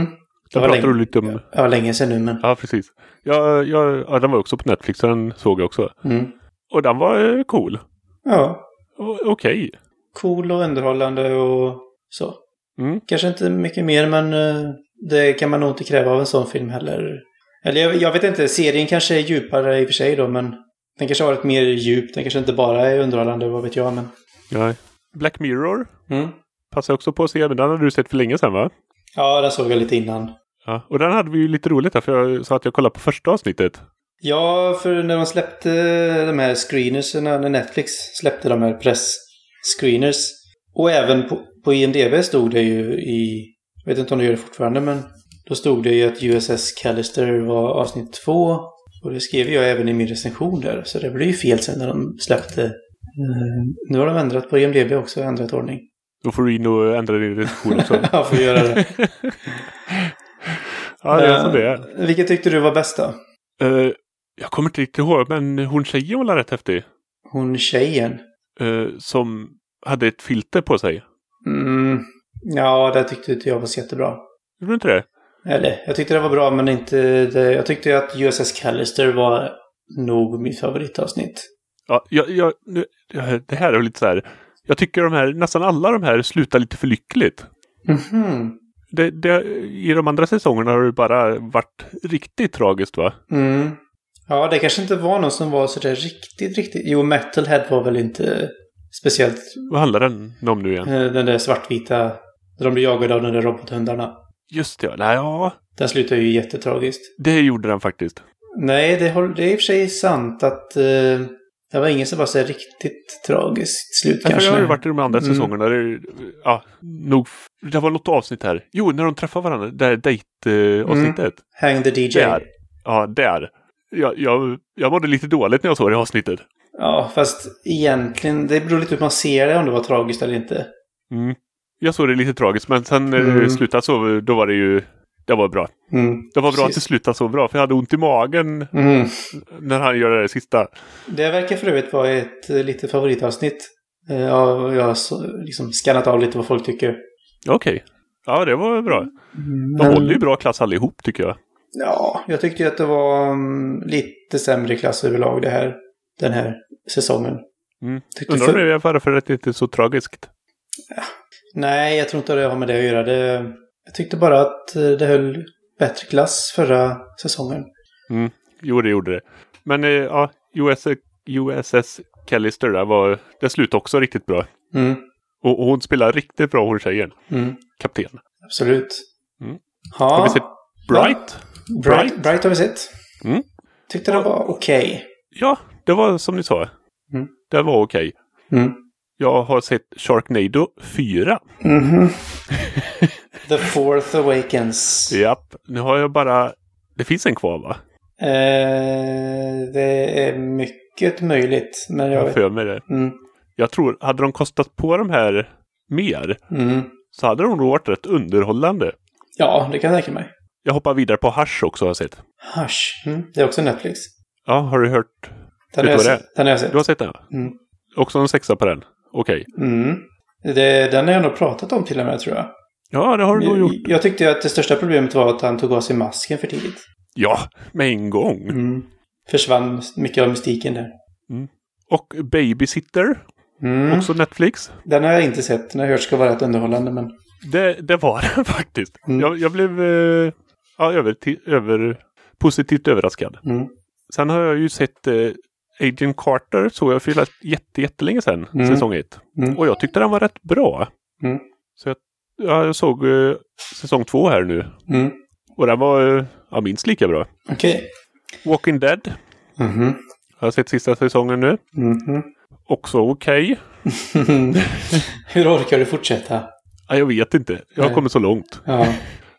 Speaker 2: Där
Speaker 3: var
Speaker 2: pratade
Speaker 3: länge-
Speaker 2: du lite om...
Speaker 3: Ja, länge sedan nu men.
Speaker 2: Ja, precis. Ja, ja, ja, den var också på Netflix, så den såg jag också.
Speaker 3: Mm.
Speaker 2: Och den var eh, cool.
Speaker 3: Ja,
Speaker 2: O- Okej.
Speaker 3: cool och underhållande och så.
Speaker 2: Mm.
Speaker 3: Kanske inte mycket mer, men eh, det kan man nog inte kräva av en sån film heller. Eller jag, jag vet inte, serien kanske är djupare i och för sig då, men den kanske har ett mer djup. Den kanske inte bara är underhållande, vad vet jag, men...
Speaker 2: Nej. Black Mirror
Speaker 3: Mm.
Speaker 2: passar jag också på att se, men den hade du sett för länge sedan va?
Speaker 3: Ja, den såg jag lite innan.
Speaker 2: Ja. Och den hade vi ju lite roligt där, för jag sa att jag kollade på första avsnittet.
Speaker 3: Ja, för när de släppte de här screenerserna, när Netflix släppte de här press-screeners. Och även på, på IMDB stod det ju i, jag vet inte om det gör det fortfarande, men då stod det ju att USS Callister var avsnitt två. Och det skrev jag även i min recension där, så det blev ju fel sen när de släppte. Eh, Nu har de ändrat på IMDB också, ändrat ordning.
Speaker 2: Då får du in och ändra din recension också.
Speaker 3: Jag får göra det.
Speaker 2: ja, det är som det är.
Speaker 3: Eh, Vilket tyckte du var bäst då?
Speaker 2: Eh, Jag kommer inte riktigt ihåg, men hon tjejen var rätt häftig.
Speaker 3: Hon tjejen.
Speaker 2: Eh, som hade ett filter på sig.
Speaker 3: Mm. Ja, det tyckte inte jag var så jättebra.
Speaker 2: Gjorde du inte det?
Speaker 3: Eller, jag tyckte det var bra men inte... Det. Jag tyckte att USS Callister var nog mitt favoritavsnitt.
Speaker 2: Ja, jag, jag, nu, det här är lite så här. Jag tycker de här, nästan alla de här slutar lite för lyckligt.
Speaker 3: Mhm.
Speaker 2: Det, det, I de andra säsongerna har det bara varit riktigt tragiskt va?
Speaker 3: Mm. Ja, det kanske inte var någon som var sådär riktigt, riktigt... Jo, Metalhead var väl inte speciellt...
Speaker 2: Vad handlar den om nu igen?
Speaker 3: eh, Den där svartvita... Där de blir jagade av de där robothundarna.
Speaker 2: Just det, ja. Nej, ja.
Speaker 3: Den slutar ju jättetragiskt.
Speaker 2: Det gjorde den faktiskt.
Speaker 3: Nej, det, håll- det är i och för sig sant att... eh, det var ingen som var så här riktigt tragiskt slut
Speaker 2: Därför
Speaker 3: kanske.
Speaker 2: har det varit i de andra
Speaker 3: Mm.
Speaker 2: säsongerna. Det, är- ja, nog, f- det var något avsnitt här. Jo, när de träffar varandra. Det här
Speaker 3: Mm.
Speaker 2: dejtavsnittet.
Speaker 3: Hang the DJ.
Speaker 2: Där. Ja, där. Jag, jag, jag mådde lite dåligt när jag såg det avsnittet.
Speaker 3: Ja, fast egentligen, det beror lite på hur man ser det, om det var tragiskt eller inte.
Speaker 2: Mm. Jag såg det lite tragiskt, men sen när
Speaker 3: Mm.
Speaker 2: det slutade så, då var det ju... Det var bra.
Speaker 3: Mm.
Speaker 2: Det var bra att det
Speaker 3: Precis.
Speaker 2: slutade så bra, för jag hade ont i magen
Speaker 3: Mm.
Speaker 2: när han gör det där sista.
Speaker 3: Det verkar för övrigt vara ett eh, lite favoritavsnitt. Eh, ja, Jag har så- liksom skannat av lite vad folk tycker.
Speaker 2: Okej. Ja, det var bra. De
Speaker 3: Mm. Men-
Speaker 2: håller ju bra klass allihop, tycker jag.
Speaker 3: Ja, jag tyckte ju att det var mm, lite sämre klass överlag det här, den här säsongen.
Speaker 2: Mm.
Speaker 3: Tyckte
Speaker 2: Undrar om
Speaker 3: för-
Speaker 2: det är varför det inte är så tragiskt.
Speaker 3: Nej, jag tror inte det har med det att göra. Det... Jag tyckte bara att eh, det höll bättre klass förra säsongen.
Speaker 2: Jo, det gjorde det. Men eh, ja, US, USS Callister där var... Det slutade också riktigt bra.
Speaker 3: Mm.
Speaker 2: Och, och hon spelar riktigt bra, hon tjejen.
Speaker 3: Mm.
Speaker 2: Kapten.
Speaker 3: Absolut.
Speaker 2: Mm. Har vi
Speaker 3: Ja,
Speaker 2: sett Bright?
Speaker 3: Bright,
Speaker 2: Bright?
Speaker 3: Bright har vi sett.
Speaker 2: Mm.
Speaker 3: Tyckte den var okej.
Speaker 2: Ja, det var som ni sa.
Speaker 3: Mm.
Speaker 2: Det var okej.
Speaker 3: Mm.
Speaker 2: Jag har sett Sharknado 4.
Speaker 3: Mhm. The Fourth Awakens.
Speaker 2: Japp. Nu har jag bara... Det finns en kvar va?
Speaker 3: Eh, det är mycket möjligt, men
Speaker 2: Jag
Speaker 3: jag
Speaker 2: har
Speaker 3: vet
Speaker 2: för mig det.
Speaker 3: mm.
Speaker 2: Jag tror, hade de kostat på de här mer
Speaker 3: Mm.
Speaker 2: så hade de nog varit rätt underhållande.
Speaker 3: Ja, det kan jag tänka mig.
Speaker 2: Jag hoppar vidare på Hash också har jag sett.
Speaker 3: Hush. Mm. Det är också Netflix.
Speaker 2: Ja, har du hört?
Speaker 3: Den
Speaker 2: Vet
Speaker 3: har jag
Speaker 2: du vad det
Speaker 3: sett. Den har jag sett.
Speaker 2: Du har sett den?
Speaker 3: Mm.
Speaker 2: Också en sexa på den? Okej.
Speaker 3: Mm. Det, den har jag nog pratat om till och med, tror jag.
Speaker 2: Ja, det har du nog
Speaker 3: Jag,
Speaker 2: gjort.
Speaker 3: jag tyckte ju att det största problemet var att han tog av sig masken för tidigt.
Speaker 2: Ja, med en gång.
Speaker 3: Mm. Försvann mycket av mystiken där.
Speaker 2: Och Babysitter,
Speaker 3: Mm.
Speaker 2: också Netflix.
Speaker 3: Den har jag inte sett. Den har jag hört ska vara rätt underhållande, men...
Speaker 2: Det, det var den faktiskt.
Speaker 3: Mm.
Speaker 2: Jag, jag blev eh, ja, över, ti- över, positivt överraskad.
Speaker 3: Mm.
Speaker 2: Sen har jag ju sett eh, Agent Carter, såg jag för jätte, jättelänge sedan,
Speaker 3: Mm.
Speaker 2: säsong 1.
Speaker 3: Mm.
Speaker 2: Och jag tyckte den var rätt bra.
Speaker 3: Mm.
Speaker 2: Så jag, ja, jag såg eh, säsong 2 här nu.
Speaker 3: Mm.
Speaker 2: Och den var eh, ja, minst lika bra.
Speaker 3: Okej.
Speaker 2: Walking Dead
Speaker 3: Mhm.
Speaker 2: har jag sett sista säsongen nu.
Speaker 3: Mhm.
Speaker 2: Också okej.
Speaker 3: Hur orkar du fortsätta?
Speaker 2: Ja, jag vet inte. Jag har
Speaker 3: Nej.
Speaker 2: kommit så långt.
Speaker 3: Ja.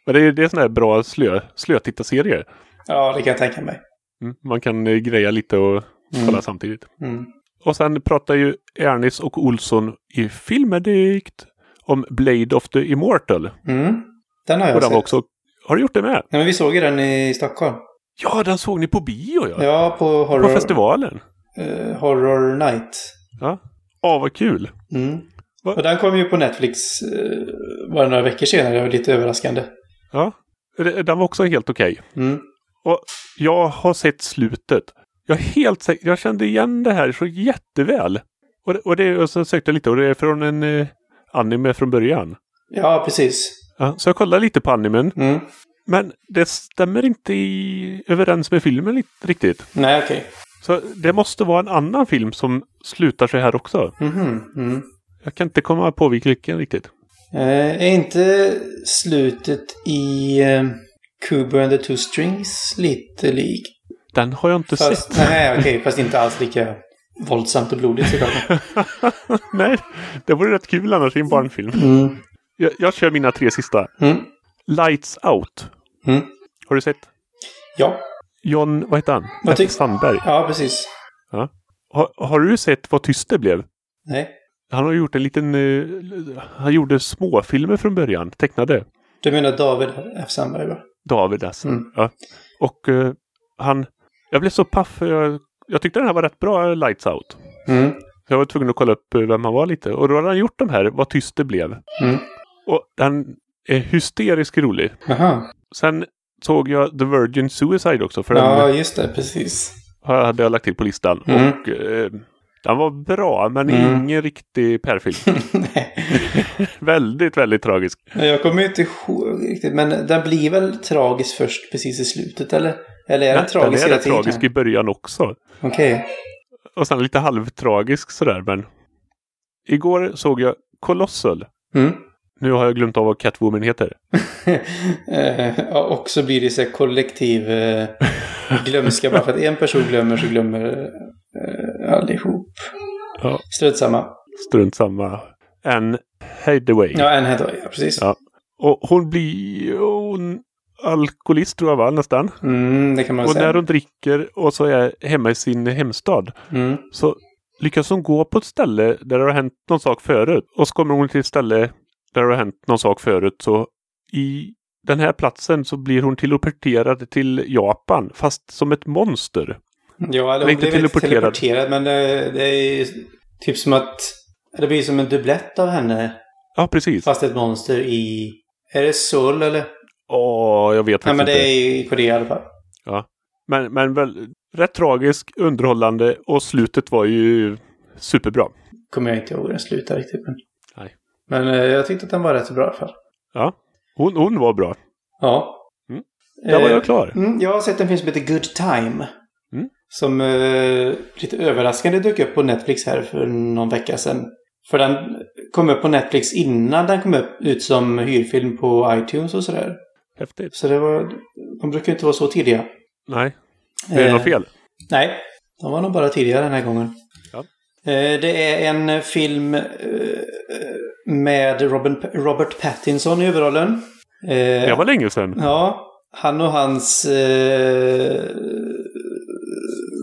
Speaker 2: Men det är, det är såna här bra slö, slötittarserie.
Speaker 3: ja, det kan jag tänka mig.
Speaker 2: Mm. Man kan eh, greja lite och kolla
Speaker 3: Mm.
Speaker 2: samtidigt.
Speaker 3: Mm.
Speaker 2: Och sen pratar ju Ernis och Olsson i Filmedikt om Blade of the Immortal.
Speaker 3: Mm. Den har jag
Speaker 2: Och den
Speaker 3: sett.
Speaker 2: var också... Har du gjort det med?
Speaker 3: Nej, men vi såg ju den i Stockholm.
Speaker 2: Ja, den såg ni på bio ja!
Speaker 3: Ja, på Horror,
Speaker 2: På festivalen.
Speaker 3: eh, horror Night.
Speaker 2: Ja. ja, vad kul!
Speaker 3: Mm.
Speaker 2: Va?
Speaker 3: Och den kom ju på Netflix eh, bara några veckor senare. Det var lite överraskande.
Speaker 2: Ja. Det- Den var också helt okej.
Speaker 3: Mm.
Speaker 2: Jag har sett slutet. Jag är helt säker, jag kände igen det här så jätteväl. Och, det, och, det, och så sökte jag lite och det är från en eh, anime från början.
Speaker 3: Ja, precis.
Speaker 2: Ja, så jag kollade lite på animen.
Speaker 3: Mm.
Speaker 2: Men det stämmer inte i, överens med filmen li- riktigt.
Speaker 3: Nej, okej.
Speaker 2: Så det måste vara en annan film som slutar så här också.
Speaker 3: Mhm. Mm.
Speaker 2: Jag kan inte komma på vilken riktigt.
Speaker 3: Eh, är inte slutet i eh, Kubo and the Two Strings lite likt?
Speaker 2: Den har jag inte
Speaker 3: Fast,
Speaker 2: sett.
Speaker 3: nej, okej. fast inte alls lika våldsamt och blodigt såklart.
Speaker 2: Nej, det vore rätt kul annars i en barnfilm.
Speaker 3: Mm.
Speaker 2: Jag, jag kör mina tre sista.
Speaker 3: Mm.
Speaker 2: Lights Out.
Speaker 3: Mm.
Speaker 2: Har du sett?
Speaker 3: Ja.
Speaker 2: John, vad heter han?
Speaker 3: Vad
Speaker 2: F.
Speaker 3: tyck-
Speaker 2: Sandberg.
Speaker 3: ja, precis.
Speaker 2: Har, har du sett vad tyst det blev?
Speaker 3: Nej.
Speaker 2: Han har gjort en liten... eh, han gjorde småfilmer från början, tecknade.
Speaker 3: Du menar David F. Sandberg, va?
Speaker 2: David alltså.
Speaker 3: Mm.
Speaker 2: Ja. Och eh, han... Jag blev så paff. för Jag, jag tyckte den här var rätt bra, eh, Lights Out.
Speaker 3: Mm.
Speaker 2: Jag var tvungen att kolla upp eh, vem han var lite. Och då hade han gjort de här, Vad tyst det blev.
Speaker 3: Mm.
Speaker 2: Och han är hysteriskt rolig.
Speaker 3: Aha.
Speaker 2: Sen såg jag The Virgin Suicide också. För
Speaker 3: Ja,
Speaker 2: den
Speaker 3: just det. Precis.
Speaker 2: har- hade jag lagt till på listan.
Speaker 3: Mm.
Speaker 2: Och eh, den var bra, men
Speaker 3: Mm.
Speaker 2: ingen riktig pärlfilm. väldigt, väldigt tragisk.
Speaker 3: Nej, Jag kommer ju inte ihåg riktigt, men den blir väl tragisk först precis i slutet, eller? Eller är
Speaker 2: Nej,
Speaker 3: den tragisk
Speaker 2: den är
Speaker 3: hela
Speaker 2: rätt
Speaker 3: tiden?
Speaker 2: tragisk i början också.
Speaker 3: Okej.
Speaker 2: Och sen lite halvtragisk sådär, men... Igår såg jag Colossal.
Speaker 3: Mm.
Speaker 2: Nu har jag glömt av vad Catwoman heter.
Speaker 3: Eh, ja, och så blir det så här kollektiv eh, glömska. Bara för att en person glömmer så glömmer eh, allihop.
Speaker 2: Ja.
Speaker 3: Strunt samma.
Speaker 2: Strunt samma. Anne Hathaway.
Speaker 3: Ja, en heter ja, precis.
Speaker 2: Ja. Och hon blir... Hon, alkoholist tror jag var nästan.
Speaker 3: Mm, det kan man
Speaker 2: Och när
Speaker 3: säga.
Speaker 2: hon dricker och så är hemma i sin hemstad
Speaker 3: Mm.
Speaker 2: så lyckas hon gå på ett ställe där det har hänt någon sak förut. Och så kommer hon till ett ställe där det har hänt någon sak förut så i den här platsen så blir hon teleporterad till Japan fast som ett monster.
Speaker 3: Ja, eller
Speaker 2: Eller
Speaker 3: hon
Speaker 2: inte
Speaker 3: blev inte
Speaker 2: teleporterad.
Speaker 3: teleporterad, men eh, det är ju typ som att... Det blir som en dubblett av henne.
Speaker 2: Ja, precis.
Speaker 3: Fast ett monster i... Är det Seoul eller?
Speaker 2: Åh, jag vet
Speaker 3: Nej,
Speaker 2: faktiskt
Speaker 3: men det
Speaker 2: inte.
Speaker 3: är i Korea i alla fall.
Speaker 2: Men, men väl, rätt tragisk, underhållande och slutet var ju superbra.
Speaker 3: Kommer jag inte ihåg hur den slutar riktigt. Men,
Speaker 2: Nej.
Speaker 3: men eh, jag tyckte att den var rätt bra i alla fall.
Speaker 2: Hon, hon var bra.
Speaker 3: Ja.
Speaker 2: Mm. Där var
Speaker 3: Eh,
Speaker 2: jag klar.
Speaker 3: Mm, jag har sett en film som heter Good Time.
Speaker 2: Mm.
Speaker 3: Som eh, lite överraskande dök upp på Netflix här för någon vecka sedan. För den kom upp på Netflix innan den kom upp ut som hyrfilm på iTunes och sådär.
Speaker 2: Häftigt.
Speaker 3: Så det var... De brukar ju inte vara så tidiga.
Speaker 2: Nej, är det
Speaker 3: Eh.
Speaker 2: något fel?
Speaker 3: Nej, de var nog bara tidigare den här gången.
Speaker 2: Ja.
Speaker 3: Eh, Det är en eh, film eh, med Robin, Robert Pattinson i huvudrollen. Eh,
Speaker 2: Det var länge sedan.
Speaker 3: Ja, han och hans... Eh,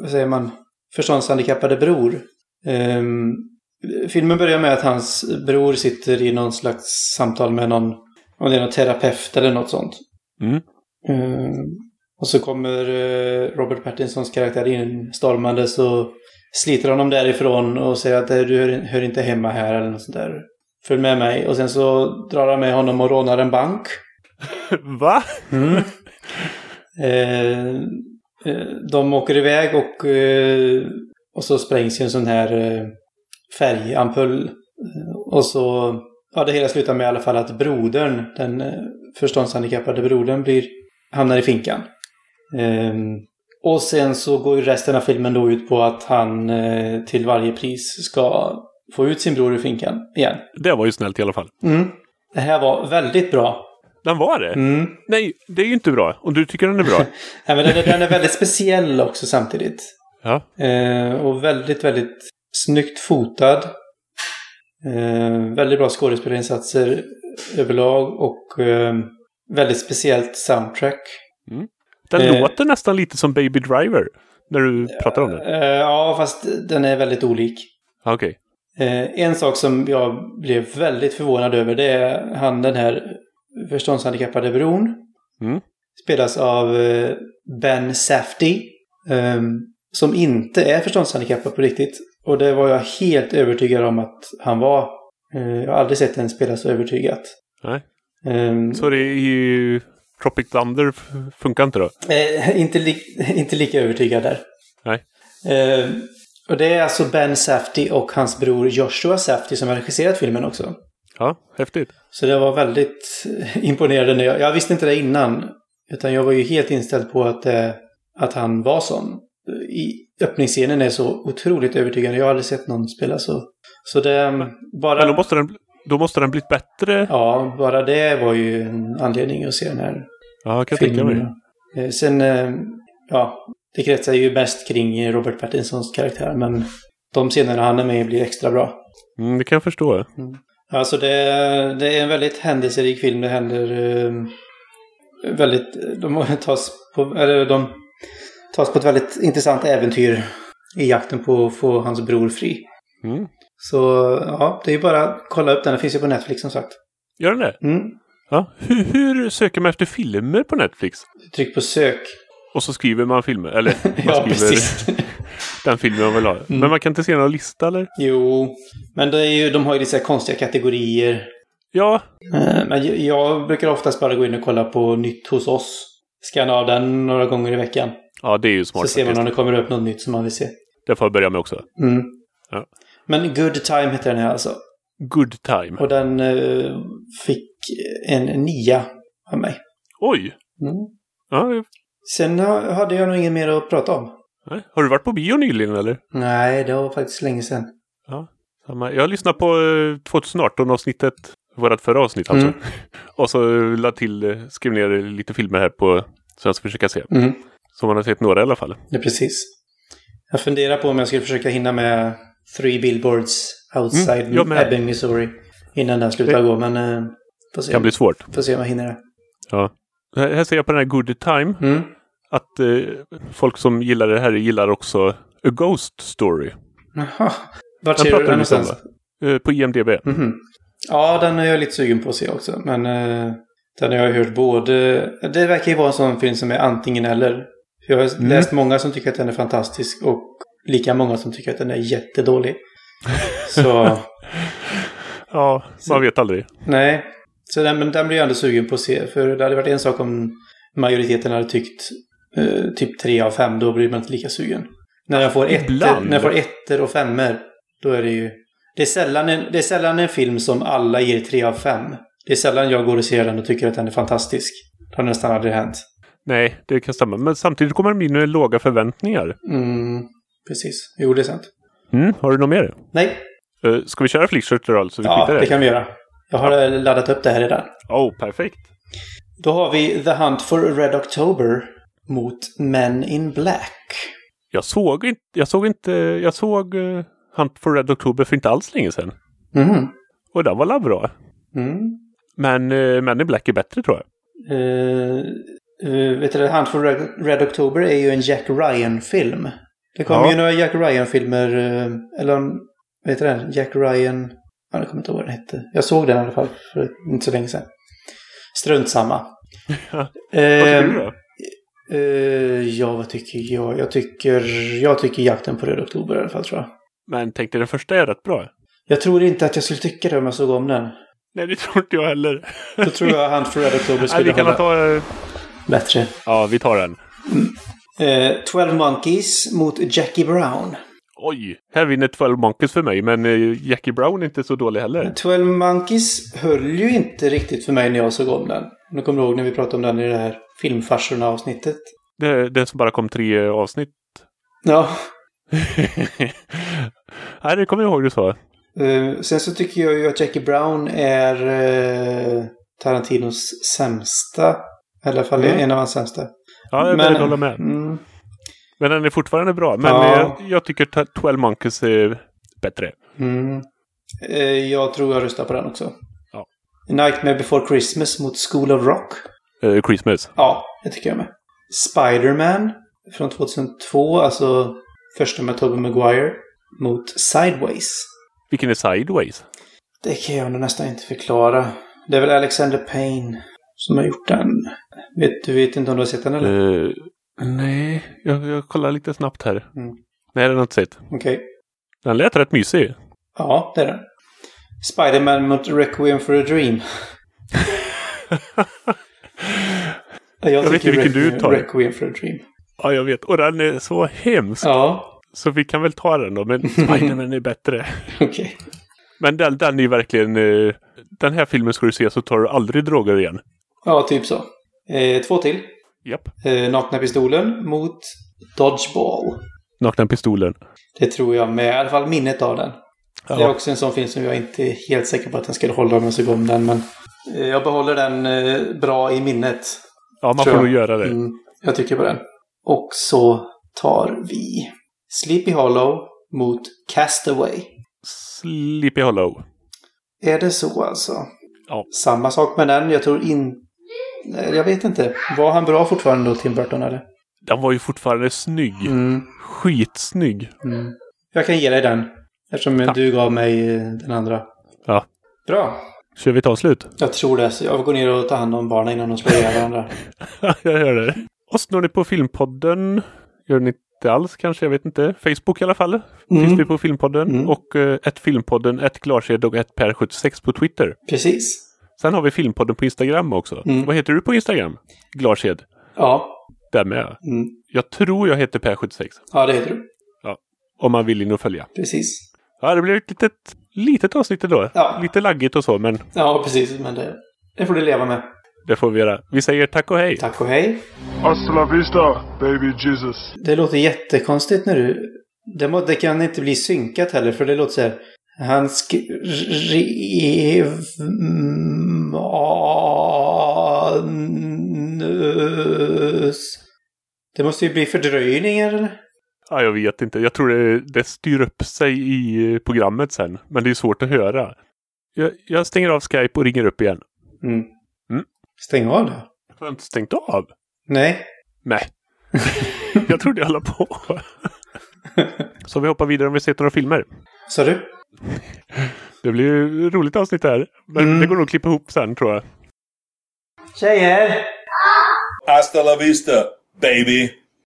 Speaker 3: vad säger man? Förståndshandikappade bror. Ehm, filmen börjar med att hans bror sitter i någon slags samtal med någon... Om det är någon terapeut eller något sånt.
Speaker 2: Mm.
Speaker 3: Ehm, och så kommer eh, Robert Pattinsons karaktär in stormandes och sliter honom därifrån och säger att "Eh, du hör, hör inte hemma här eller något sånt där. Följ med mig. Och sen så drar han med honom och rånar en bank.
Speaker 2: Va?
Speaker 3: Mm. eh, eh, de åker iväg och, eh, och så sprängs ju en sån här eh, färgampull. Eh, Och så, ja det hela slutar med i alla fall att brodern, den eh, förståndshandikappade brodern blir, hamnar i finkan. Eh, och sen så går ju resten av filmen då ut på att han eh, till varje pris ska få ut sin bror ur finkan igen.
Speaker 2: Det var ju snällt i alla fall.
Speaker 3: Mm. Det här var väldigt bra.
Speaker 2: Den var det?
Speaker 3: Mm.
Speaker 2: Nej, det är ju inte bra. Om du tycker den är bra.
Speaker 3: Nej, men den, den är väldigt speciell också samtidigt.
Speaker 2: ja.
Speaker 3: Eh, och väldigt, väldigt snyggt fotad. Eh, väldigt bra skådespelarinsatser överlag och eh, väldigt speciellt soundtrack.
Speaker 2: Den
Speaker 3: Eh.
Speaker 2: låter nästan lite som Baby Driver. När du pratar om den.
Speaker 3: Eh, ja, fast den är väldigt olik.
Speaker 2: Ah, Okej.
Speaker 3: Eh, en sak som jag blev väldigt förvånad över det är han den här förståndshandikappade bron.
Speaker 2: Mm.
Speaker 3: Spelas av eh, Ben Safdie. Eh, som inte är förståndshandikappad på riktigt. Och det var jag helt övertygad om att han var. Eh, jag har aldrig sett en spela så övertygat.
Speaker 2: Nej.
Speaker 3: Eh,
Speaker 2: Så det är ju... Tropic Thunder f- funkar inte då?
Speaker 3: Eh, inte, li- inte lika övertygad där.
Speaker 2: Nej.
Speaker 3: Eh, och det är alltså Ben Safdie och hans bror Joshua Safdie som har regisserat filmen också.
Speaker 2: Ja, häftigt.
Speaker 3: Så det var väldigt imponerande. när Jag, jag visste inte det innan. Utan jag var ju helt inställd på att, eh, att han var sån. I öppningsscenen är så otroligt övertygande. Jag har aldrig sett någon spela så. Så det... mm,
Speaker 2: Men då
Speaker 3: Bara,
Speaker 2: måste den, då måste den blivit bättre. Ja,
Speaker 3: ja, bara det var ju en anledning att se den här
Speaker 2: jag kan tänka mig.
Speaker 3: filmen. Eh, Sen, eh, ja, det kretsar ju bäst kring eh, Robert Pattinsons karaktär. Men de scenerna han är med i blir extra bra.
Speaker 2: Mm, det kan jag förstå.
Speaker 3: Alltså det, det är en väldigt händelserik film. Det händer eh, väldigt... De tas på, eller de tas på ett väldigt intressant äventyr i jakten på att få hans bror fri.
Speaker 2: Mm.
Speaker 3: Så ja, det är ju bara att kolla upp den. Den finns ju på Netflix som sagt.
Speaker 2: Gör den det?
Speaker 3: Mm.
Speaker 2: Ja. Hur, hur söker man efter filmer på Netflix?
Speaker 3: Tryck på sök.
Speaker 2: Och så skriver man filmer. Eller man
Speaker 3: ja,
Speaker 2: skriver
Speaker 3: precis. Mm.
Speaker 2: den filmen man vill ha. Men man kan inte se någon lista eller?
Speaker 3: jo, men det är ju, de har ju lite så här konstiga kategorier.
Speaker 2: Ja,
Speaker 3: Eh, Men jag- jag brukar oftast bara gå in och kolla på nytt hos oss. Scanna av den några gånger i veckan.
Speaker 2: ja det är ju
Speaker 3: Så
Speaker 2: smart
Speaker 3: ser man
Speaker 2: faktiskt.
Speaker 3: om det kommer upp något nytt som man vill se.
Speaker 2: Det får jag börja med också.
Speaker 3: Mm.
Speaker 2: Ja.
Speaker 3: Men Good Time heter den här alltså.
Speaker 2: Good time.
Speaker 3: Och den eh, fick en nia av mig.
Speaker 2: Oj!
Speaker 3: Mm.
Speaker 2: Ja, det...
Speaker 3: Sen ha- hade jag nog inget mer att prata om.
Speaker 2: nej. Har du varit på bio nyligen eller?
Speaker 3: Nej, det var faktiskt länge sedan.
Speaker 2: Samma. Jag lyssnade på eh, 2018-avsnittet, vårt förra avsnitt alltså.
Speaker 3: Mm.
Speaker 2: Och så eh, la till, eh, skrev ner lite filmer här på, som jag ska försöka se.
Speaker 3: Mm.
Speaker 2: Som man har sett några i alla fall.
Speaker 3: Ja, precis. Jag funderar på om jag skulle försöka hinna med Three Billboards Outside
Speaker 2: Mm, jag med.
Speaker 3: Ebbing, Missouri. Innan den slutar
Speaker 2: Det-
Speaker 3: gå, men... Eh, får, se.
Speaker 2: Det kan bli svårt.
Speaker 3: får se om jag hinner det.
Speaker 2: Här här ser jag på den här Good Time
Speaker 3: Mm.
Speaker 2: att eh, folk som gillar det här gillar också A Ghost Story.
Speaker 3: Jaha.
Speaker 2: Den
Speaker 3: Vart ser du den
Speaker 2: pratar vi lite om
Speaker 3: någonstans?
Speaker 2: va? Eh, på IMDB.
Speaker 3: Mhm. Ja, den är jag lite sugen på att se också. Men eh, den har jag hört både... Det verkar ju vara en sån film som är antingen eller. Jag har
Speaker 2: Mm.
Speaker 3: läst många som tycker att den är fantastisk och lika många som tycker att den är jättedålig. Så
Speaker 2: Ja, man vet aldrig.
Speaker 3: nej. Så den, men den blir jag ändå sugen på att se. För det hade varit en sak om majoriteten hade tyckt eh, typ tre av fem. Då blir man inte lika sugen. När jag får ettor,
Speaker 2: Ibland.
Speaker 3: när jag får ettor och femmer Då är det ju... Det är, sällan en, det är sällan en film som alla ger tre av fem. Det är sällan jag går och ser den och tycker att den är fantastisk. Det har nästan aldrig hänt.
Speaker 2: Nej, det kan stämma. Men samtidigt kommer det bli några låga förväntningar.
Speaker 3: Mm, precis. Jo, det är sant.
Speaker 2: Mm, har du något mer?
Speaker 3: Nej,
Speaker 2: Eh, ska vi köra Flickshirts då? Så vi
Speaker 3: ja,
Speaker 2: skitar i
Speaker 3: det kan vi göra. Jag har eh, laddat upp det här redan.
Speaker 2: Oh, perfekt.
Speaker 3: Då har vi The Hunt for Red October mot Men in Black.
Speaker 2: Jag såg inte, jag såg inte, jag såg eh, Hunt for Red October för inte alls länge sedan.
Speaker 3: Mhm.
Speaker 2: Och den var la bra.
Speaker 3: Mm.
Speaker 2: Men uh, Men in Black är bättre tror jag.
Speaker 3: Eh, eh, vet du, det, Hunt for Red, Red October är ju en Jack Ryan-film. Det kommer
Speaker 2: Ja.
Speaker 3: ju några Jack Ryan-filmer, eh, eller om- vet du den? Jack Ryan... Ja, jag kommer inte ihåg vad den hette. Jag såg den i alla fall för inte så länge sedan. Strunt samma.
Speaker 2: Vad tycker
Speaker 3: Ehm,
Speaker 2: du då?
Speaker 3: eh, ja, vad tycker jag? Jag tycker, jag tycker Jakten på Röd Oktober i alla fall, tror jag.
Speaker 2: Men tänkte den första är rätt bra.
Speaker 3: Jag tror inte att jag skulle tycka det om jag såg om den.
Speaker 2: Nej, det tror inte jag heller.
Speaker 3: Då tror jag Hunt for Red October
Speaker 2: Nej,
Speaker 3: skulle
Speaker 2: vi
Speaker 3: hålla
Speaker 2: kan ta... eh,
Speaker 3: bättre.
Speaker 2: Ja, vi tar den.
Speaker 3: Eh, 12 Monkeys mot Jackie Brown.
Speaker 2: Oj, här vinner 12 Monkeys för mig, men eh, Jackie Brown är inte så dålig heller.
Speaker 3: 12 Monkeys höll ju inte riktigt för mig när jag såg om den. Om du kommer ihåg när vi pratade om den i det här filmfarsorna-avsnittet.
Speaker 2: Det, det som bara kom tre eh, avsnitt.
Speaker 3: Ja.
Speaker 2: Nej, det kommer jag ihåg du sa.
Speaker 3: eh, sen så tycker jag ju att Jackie Brown är eh, Tarantinos sämsta. I alla fall
Speaker 2: Mm.
Speaker 3: en av hans sämsta.
Speaker 2: Ja, jag
Speaker 3: Men-
Speaker 2: men, håller med.
Speaker 3: Mm,
Speaker 2: Men den är fortfarande bra. Men
Speaker 3: Ja.
Speaker 2: eh, jag tycker ta- 12 Monkeys är bättre.
Speaker 3: mm. Eh, jag tror jag röstar på den också.
Speaker 2: Ja.
Speaker 3: Nightmare Before Christmas mot School of Rock.
Speaker 2: Eh, Christmas.
Speaker 3: Ja, det tycker jag med. Spider-Man från 2002, alltså första med Tobey Maguire, mot Sideways.
Speaker 2: Vilken är Sideways?
Speaker 3: Det kan jag nog nästan inte förklara. Det är väl Alexander Payne som har gjort den. Vet, du vet inte om du har sett den eller?
Speaker 2: Eh, nej, jag, jag kollar lite snabbt här.
Speaker 3: Mm.
Speaker 2: Nej, den har jag inte sett.
Speaker 3: Okej.
Speaker 2: Den lät rätt mysig.
Speaker 3: Ja, det är den. Spider-Man mot Requiem for a Dream. jag,
Speaker 2: vet inte
Speaker 3: tycker
Speaker 2: vilken du
Speaker 3: Requiem-
Speaker 2: tar.
Speaker 3: Requiem for a Dream.
Speaker 2: Ja, jag vet. Och den är så hemsk.
Speaker 3: Ja,
Speaker 2: Så vi kan väl ta den då. Men Spiderman är bättre.
Speaker 3: okej.
Speaker 2: Men den, den är ju verkligen... eh, den här filmen ska du se så tar du aldrig droger igen.
Speaker 3: Ja, typ så. Eh, två till.
Speaker 2: Japp.
Speaker 3: Eh, nakna pistolen mot Dodgeball.
Speaker 2: Nakna pistolen.
Speaker 3: Det tror jag med. I alla fall minnet av den. Det är
Speaker 2: Ja.
Speaker 3: också en sån film som jag inte är helt säker på att den skulle hålla om jag såg om den. Men eh, jag behåller den eh, bra i minnet.
Speaker 2: ja, man
Speaker 3: tror
Speaker 2: får
Speaker 3: jag.
Speaker 2: nog göra det.
Speaker 3: Mm, jag tycker på den. Och så tar vi Sleepy Hollow mot Castaway.
Speaker 2: Sleepy Hollow.
Speaker 3: Är det så alltså?
Speaker 2: Ja.
Speaker 3: Samma sak med den. Jag tror in... Nej, Jag vet inte. Var han bra fortfarande då, Tim Burton, eller?
Speaker 2: Den var ju fortfarande snygg.
Speaker 3: Mm.
Speaker 2: Skitsnygg.
Speaker 3: Mm. Jag kan ge dig den. Eftersom
Speaker 2: Tack.
Speaker 3: du gav mig eh, den andra.
Speaker 2: Ja.
Speaker 3: Bra.
Speaker 2: Kör vi ett avslut?
Speaker 3: Jag tror det. Så jag går ner och tar hand om barnen innan de slår ihjäl varandra.
Speaker 2: jag gör det. oss når ni på Filmpodden. Gör ni inte alls kanske, jag vet inte. Facebook i alla fall.
Speaker 3: Mm.
Speaker 2: Finns vi på Filmpodden
Speaker 3: Mm.
Speaker 2: och eh, ett Filmpodden, ett Glarsed och ett Per76 på Twitter.
Speaker 3: Precis.
Speaker 2: Sen har vi Filmpodden på Instagram också.
Speaker 3: Mm.
Speaker 2: Vad heter du på Instagram? Glarsed.
Speaker 3: Ja.
Speaker 2: Där med.
Speaker 3: Mm.
Speaker 2: Jag tror jag heter Per76.
Speaker 3: Ja, det heter du.
Speaker 2: Om man vill in och följa.
Speaker 3: Precis.
Speaker 2: Ja, det blir ett litet, litet avsnitt idag.
Speaker 3: Ja.
Speaker 2: Lite laggigt och så, men
Speaker 3: Ja, precis. Men det, det får du leva med.
Speaker 2: det får vi göra. Vi säger tack och hej.
Speaker 3: Tack och hej.
Speaker 1: Hasta la vista, baby Jesus.
Speaker 3: Det låter jättekonstigt när du... Det, må, det kan inte bli synkat heller, för det låter så här... Han skrev... manus. Det måste ju bli fördröjningar, eller?
Speaker 2: Ja, jag vet inte. Jag tror det, det styr upp sig i eh, programmet sen. Men det är svårt att höra. Jag, jag stänger av Skype och ringer upp igen.
Speaker 3: Mm.
Speaker 2: Mm.
Speaker 3: Stäng av det.
Speaker 2: Har jag inte stängt av?
Speaker 3: Nej.
Speaker 2: Nej. jag trodde jag höll på. så vi hoppar vidare om vi sett några filmer.
Speaker 3: Sa du?
Speaker 2: Det blir ju ett roligt avsnitt här. Men
Speaker 3: Mm.
Speaker 2: det går nog att klippa ihop sen tror jag.
Speaker 3: Tjejer!
Speaker 4: Hasta la vista, baby.